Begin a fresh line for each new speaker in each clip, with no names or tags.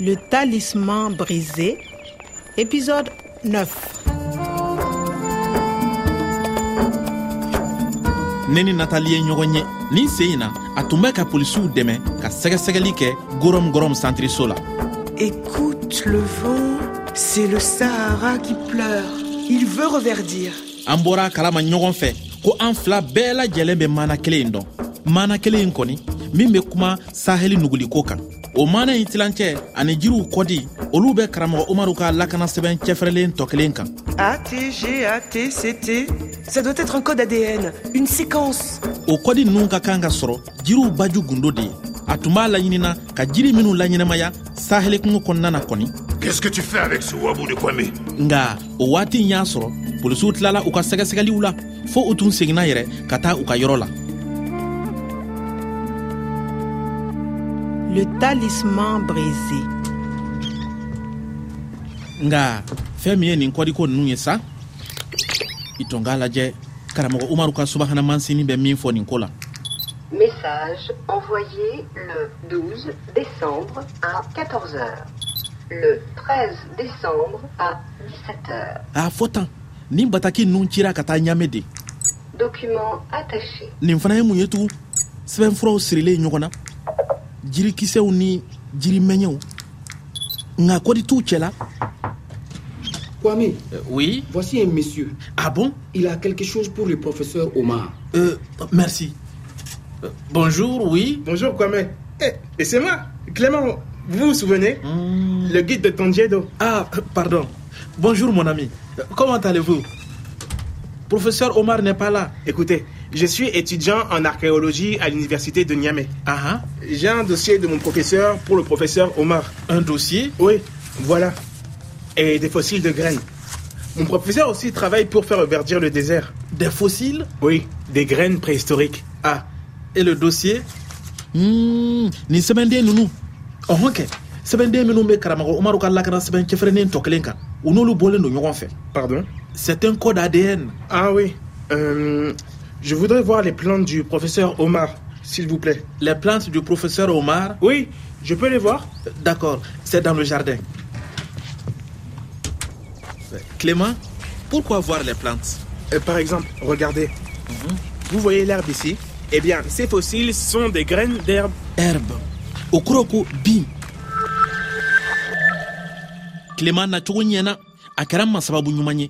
Le talisman brisé, épisode 9.
ne ni natali ye ɲɔgɔn ye nin sen in na a tun bɛ ka polisiw dɛmɛ ka sɛgɛsɛgɛli kɛ gorom gorom santiriso la
Écoute le vent, c'est le Sahara qui pleure. Il veut reverdir.
an bɔra a kalama ɲɔgɔn fɛ ko an fila bɛɛ lajɛlen bɛ mana kelen in dɔn mana kelen in kɔni min bɛ kuma saheli nuguliko kan o mana in tilancɛ ani jiriw kɔdi olu bɛ karamɔgɔ umaru ka lakana sɛbɛn cɛfɛrɛlen tɔ kelen kan
A-T-G-A-T-C-T. Ça doit être un code ADN, une séquence.
o kɔdi ninnu ka kan ka sɔrɔ jiriw baju gundo de ye a tun b'a laɲinina ka jiri minw laɲɛnɛmaya saheli kungo kɔnɔna na kɔni
Qu'est-ce que tu fais avec ce wabou de Kwame
nga o waati in y'a sɔrɔ polisiw tilala u ka sɛgɛsɛgɛliw la fɔɔ u tun seginna yɛrɛ ka taa u ka yɔrɔ la
Le talisman brisé.
nga fɛɛn min ye nin kɔdiko nunu ye sa i tun k'a lajɛ karamɔgɔ umaru ka subahana mansini bɛ min fɔ nin ko la
Message envoyé le 12 décembre à 14h. Le 13 décembre à 17h.
a fɔ tan nin bataki nunu cira ka taa ɲamɛ de
Document attaché.
nin fana ye mun ye tugun sɛbɛnfuraw sirilen ɲɔgɔn na jirikisɛw ni jirimɛɲɛw nka kɔdi t'u cɛla
Kwame,
Euh, oui
voici un monsieur.
a bon
Il a quelque chose pour le professeur Omar.
euh, merci Euh, bonjour oui
Bonjour Kwame. Eh, et c'est moi, Clément. Vous vous souvenez Le guide de Tondiedo.
Ah, pardon. Bonjour mon ami. Comment allez-vous Professeur Omar n'est pas là.
Écoutez, je suis étudiant en archéologie à l'université de Niamey.
Ah,
J'ai un dossier de mon professeur pour le professeur Omar.
un dossier
Oui, voilà. Et des fossiles de graines. Mon professeur aussi travaille pour faire verdir le désert.
Des fossiles
Oui, des graines préhistoriques.
Ah, et le dossier Hmm, ni sɛbɛnden ninnu ɔhɔn kɛ sɛbɛnden minnu bɛ karamɔgɔ umaru ka lakana sɛbɛn cɛfɛrɛnnen tɔ kelen kan u n'olu bɔlen don ɲɔgɔn fɛ
Pardon
c'est un code adn
Ah oui. Euh, je voudrais voir les plans du professeur Omar, s'il vous plaît.
les plantes du professeur omar
Oui, je peux les voir
d'accord c'est dans le jardin clément pourquoi voir les plantes
Euh, par exemple, regardez. Vous voyez l'herbe ici Eh bien, ces fossiles sont des graines d'herbe.
herbe o kɔrɔ ko bin tilema nacogo ɲɛna a kɛra n ma sababu ɲuman ye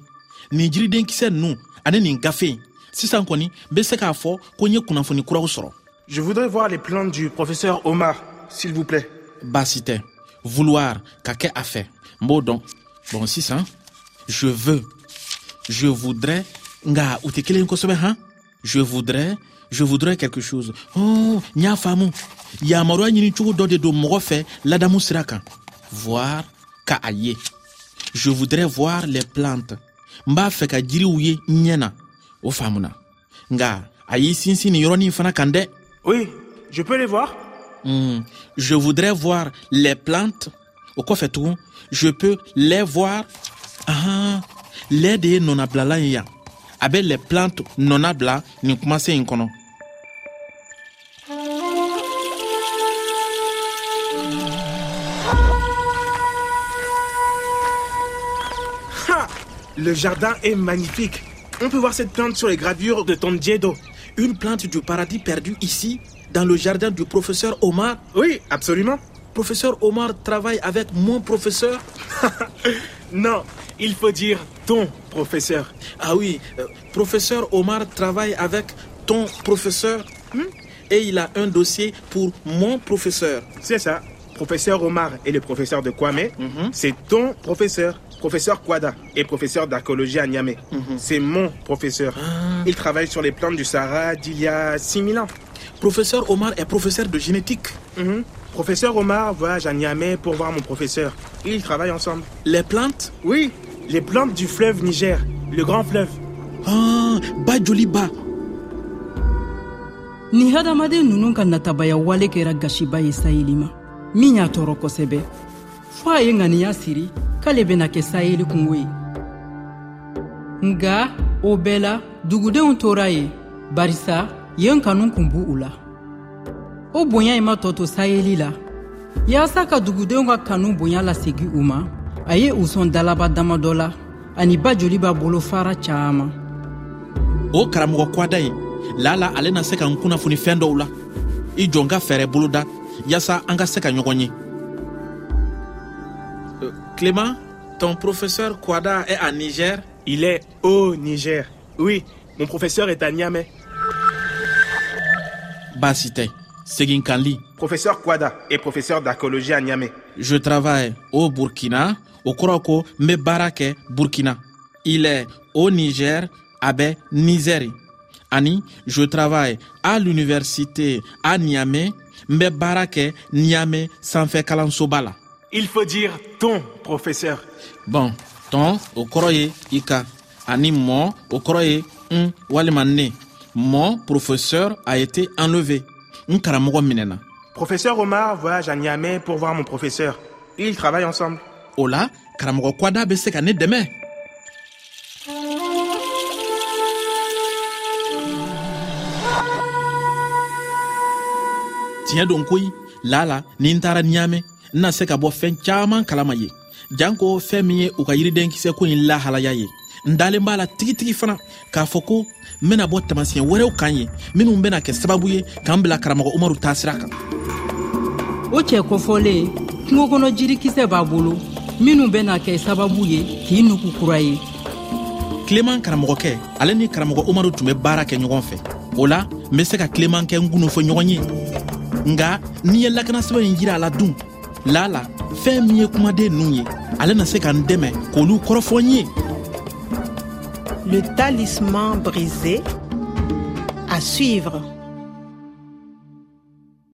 nin jiridenkisɛ nunu ani nin gafe in sisan kɔni be se k'a fɔ ko n ye kunnafoni kuraw sɔrɔ
Je voudrais voir les plantes du professeur Omar, s'il vous plaît.
baasi tɛ vouloir ka kɛ a fɛ n b'o dɔn bon sisan je veux je voudrais nga u tɛ kelen ye kosɛbɛ han hein? je voudrais je voudrais quelque chose oh, n y'a faamu yamaruya ɲini cogo dɔ de don mɔgɔ fɛ ladamu sira kan voir ka a ye je voudrais voir les plantes n b'a fɛ ka jiriw ye n ɲɛ na o faamuna nga a y'i sinsin nin yɔrɔnin fana kan dɛ
Oui, je peux les voir
Hmm, je voudrais voir les plantes. Au quoi fait tout Je peux les voir. Ah, les de non ablala ya. Avec ben, les plantes non abla, ni commence en kono.
Ha Le jardin est magnifique. On peut voir cette plante sur les gravures de Tondiedo.
Une plante du paradis perdu ici, dans le jardin du professeur Omar.
Oui, absolument.
Professeur Omar travaille avec mon professeur.
Non, il faut dire ton professeur.
Ah oui, euh, professeur Omar travaille avec ton professeur. hmm, Et il a un dossier pour mon professeur.
C'est ça. Professeur Omar et le professeur de Kwame, c'est ton professeur, professeur Kwada et professeur d'archéologie à Niamey. C'est mon professeur. Il travaille sur les plantes du Sahara d'il y a 6000 ans.
Professeur Omar est professeur de génétique.
Mhm. Professeur Omar voyage à Niamey pour voir mon professeur. Ils travaillent ensemble.
Les plantes
Oui, les plantes du fleuve Niger, le grand fleuve.
Ah, Bajoliba.
nin hadamaden nunu ka natabaya wale kɛra gasiba ye saheli ma min y'a tɔɔrɔ kosɛbɛ fɔɔ a ye ŋaniya siri k'ale bena kɛ saheli kungo ye nga o bɛɛ la dugudenw tora ye barisa yen kanu kun b'u la o bonya ye ma tɔ to saheli la yaasa ka dugudenw ka kanu bonya lasegi u ma a ye u sɔn dalaba dama dɔ la ani ba joli b'a bolo fara caaman
o karamɔgɔ kwada ye lala ale na se ka n kunnafoni fɛn dɔw la i jɔ n ka fɛɛrɛ boloda yaasa an ka se ka ɲɔgɔn ye Euh, clément ton professeur kwada est à niger
Il est au Niger. Oui, mon professeur est à Niamey.
baasi tɛ segin kan li
Professeur Kwada est professeur d'archéologie à Niamey.
je travaille au burkina o kɔrɔ ko n bɛ baara kɛ burkina il est au niger a bɛ nizɛri ani je travaille à l'université à niamey n bɛ baara kɛ niamey sanfɛ kalansoba la
Il faut dire ton professeur.
bɔn tɔn o kɔrɔ ye i ka ani mɔ o kɔrɔ ye n walima ne mon professeur a été enlevé n karamɔgɔ minɛna
Professeur Omar voyage à Niamey pour voir mon professeur. Ils travaillent ensemble.
o la karamɔgɔ kwada bɛ se ka ne dɛmɛ tiɲɛ don koyi lala ni n taara ɲaamɛ n na se ka bɔ fɛn caaman kalama ye jan ko fɛn min ye u ka yiridenkisɛ ko in lahalaya ye n dalen b'a la tigitigi fana k'a fɔ ko n bena bɔ tamasiyɛn wɛrɛw kan ye minw bena kɛ sababu ye k'an bila karamɔgɔ umaru taasira kan
o cɛ kɔfɔlen kungo kɔnɔ jirikisɛ b'a bolo minw bena kɛ sababu ye k'i nugu kura ye
kileman karamɔgɔkɛ ale ni karamɔgɔ umaru tun bɛ baara kɛ ɲɔgɔn fɛ o la n bɛ se ka kileman kɛ n gundo fɔ ɲɔgɔn ye nka n'i ye lakanasɛbɛn in jira a la dun lala fɛn min ye kumaden ninnu ye ale na se ka n dɛmɛ k'olu kɔrɔfɔ n ye
Le talisman brisé. À suivre.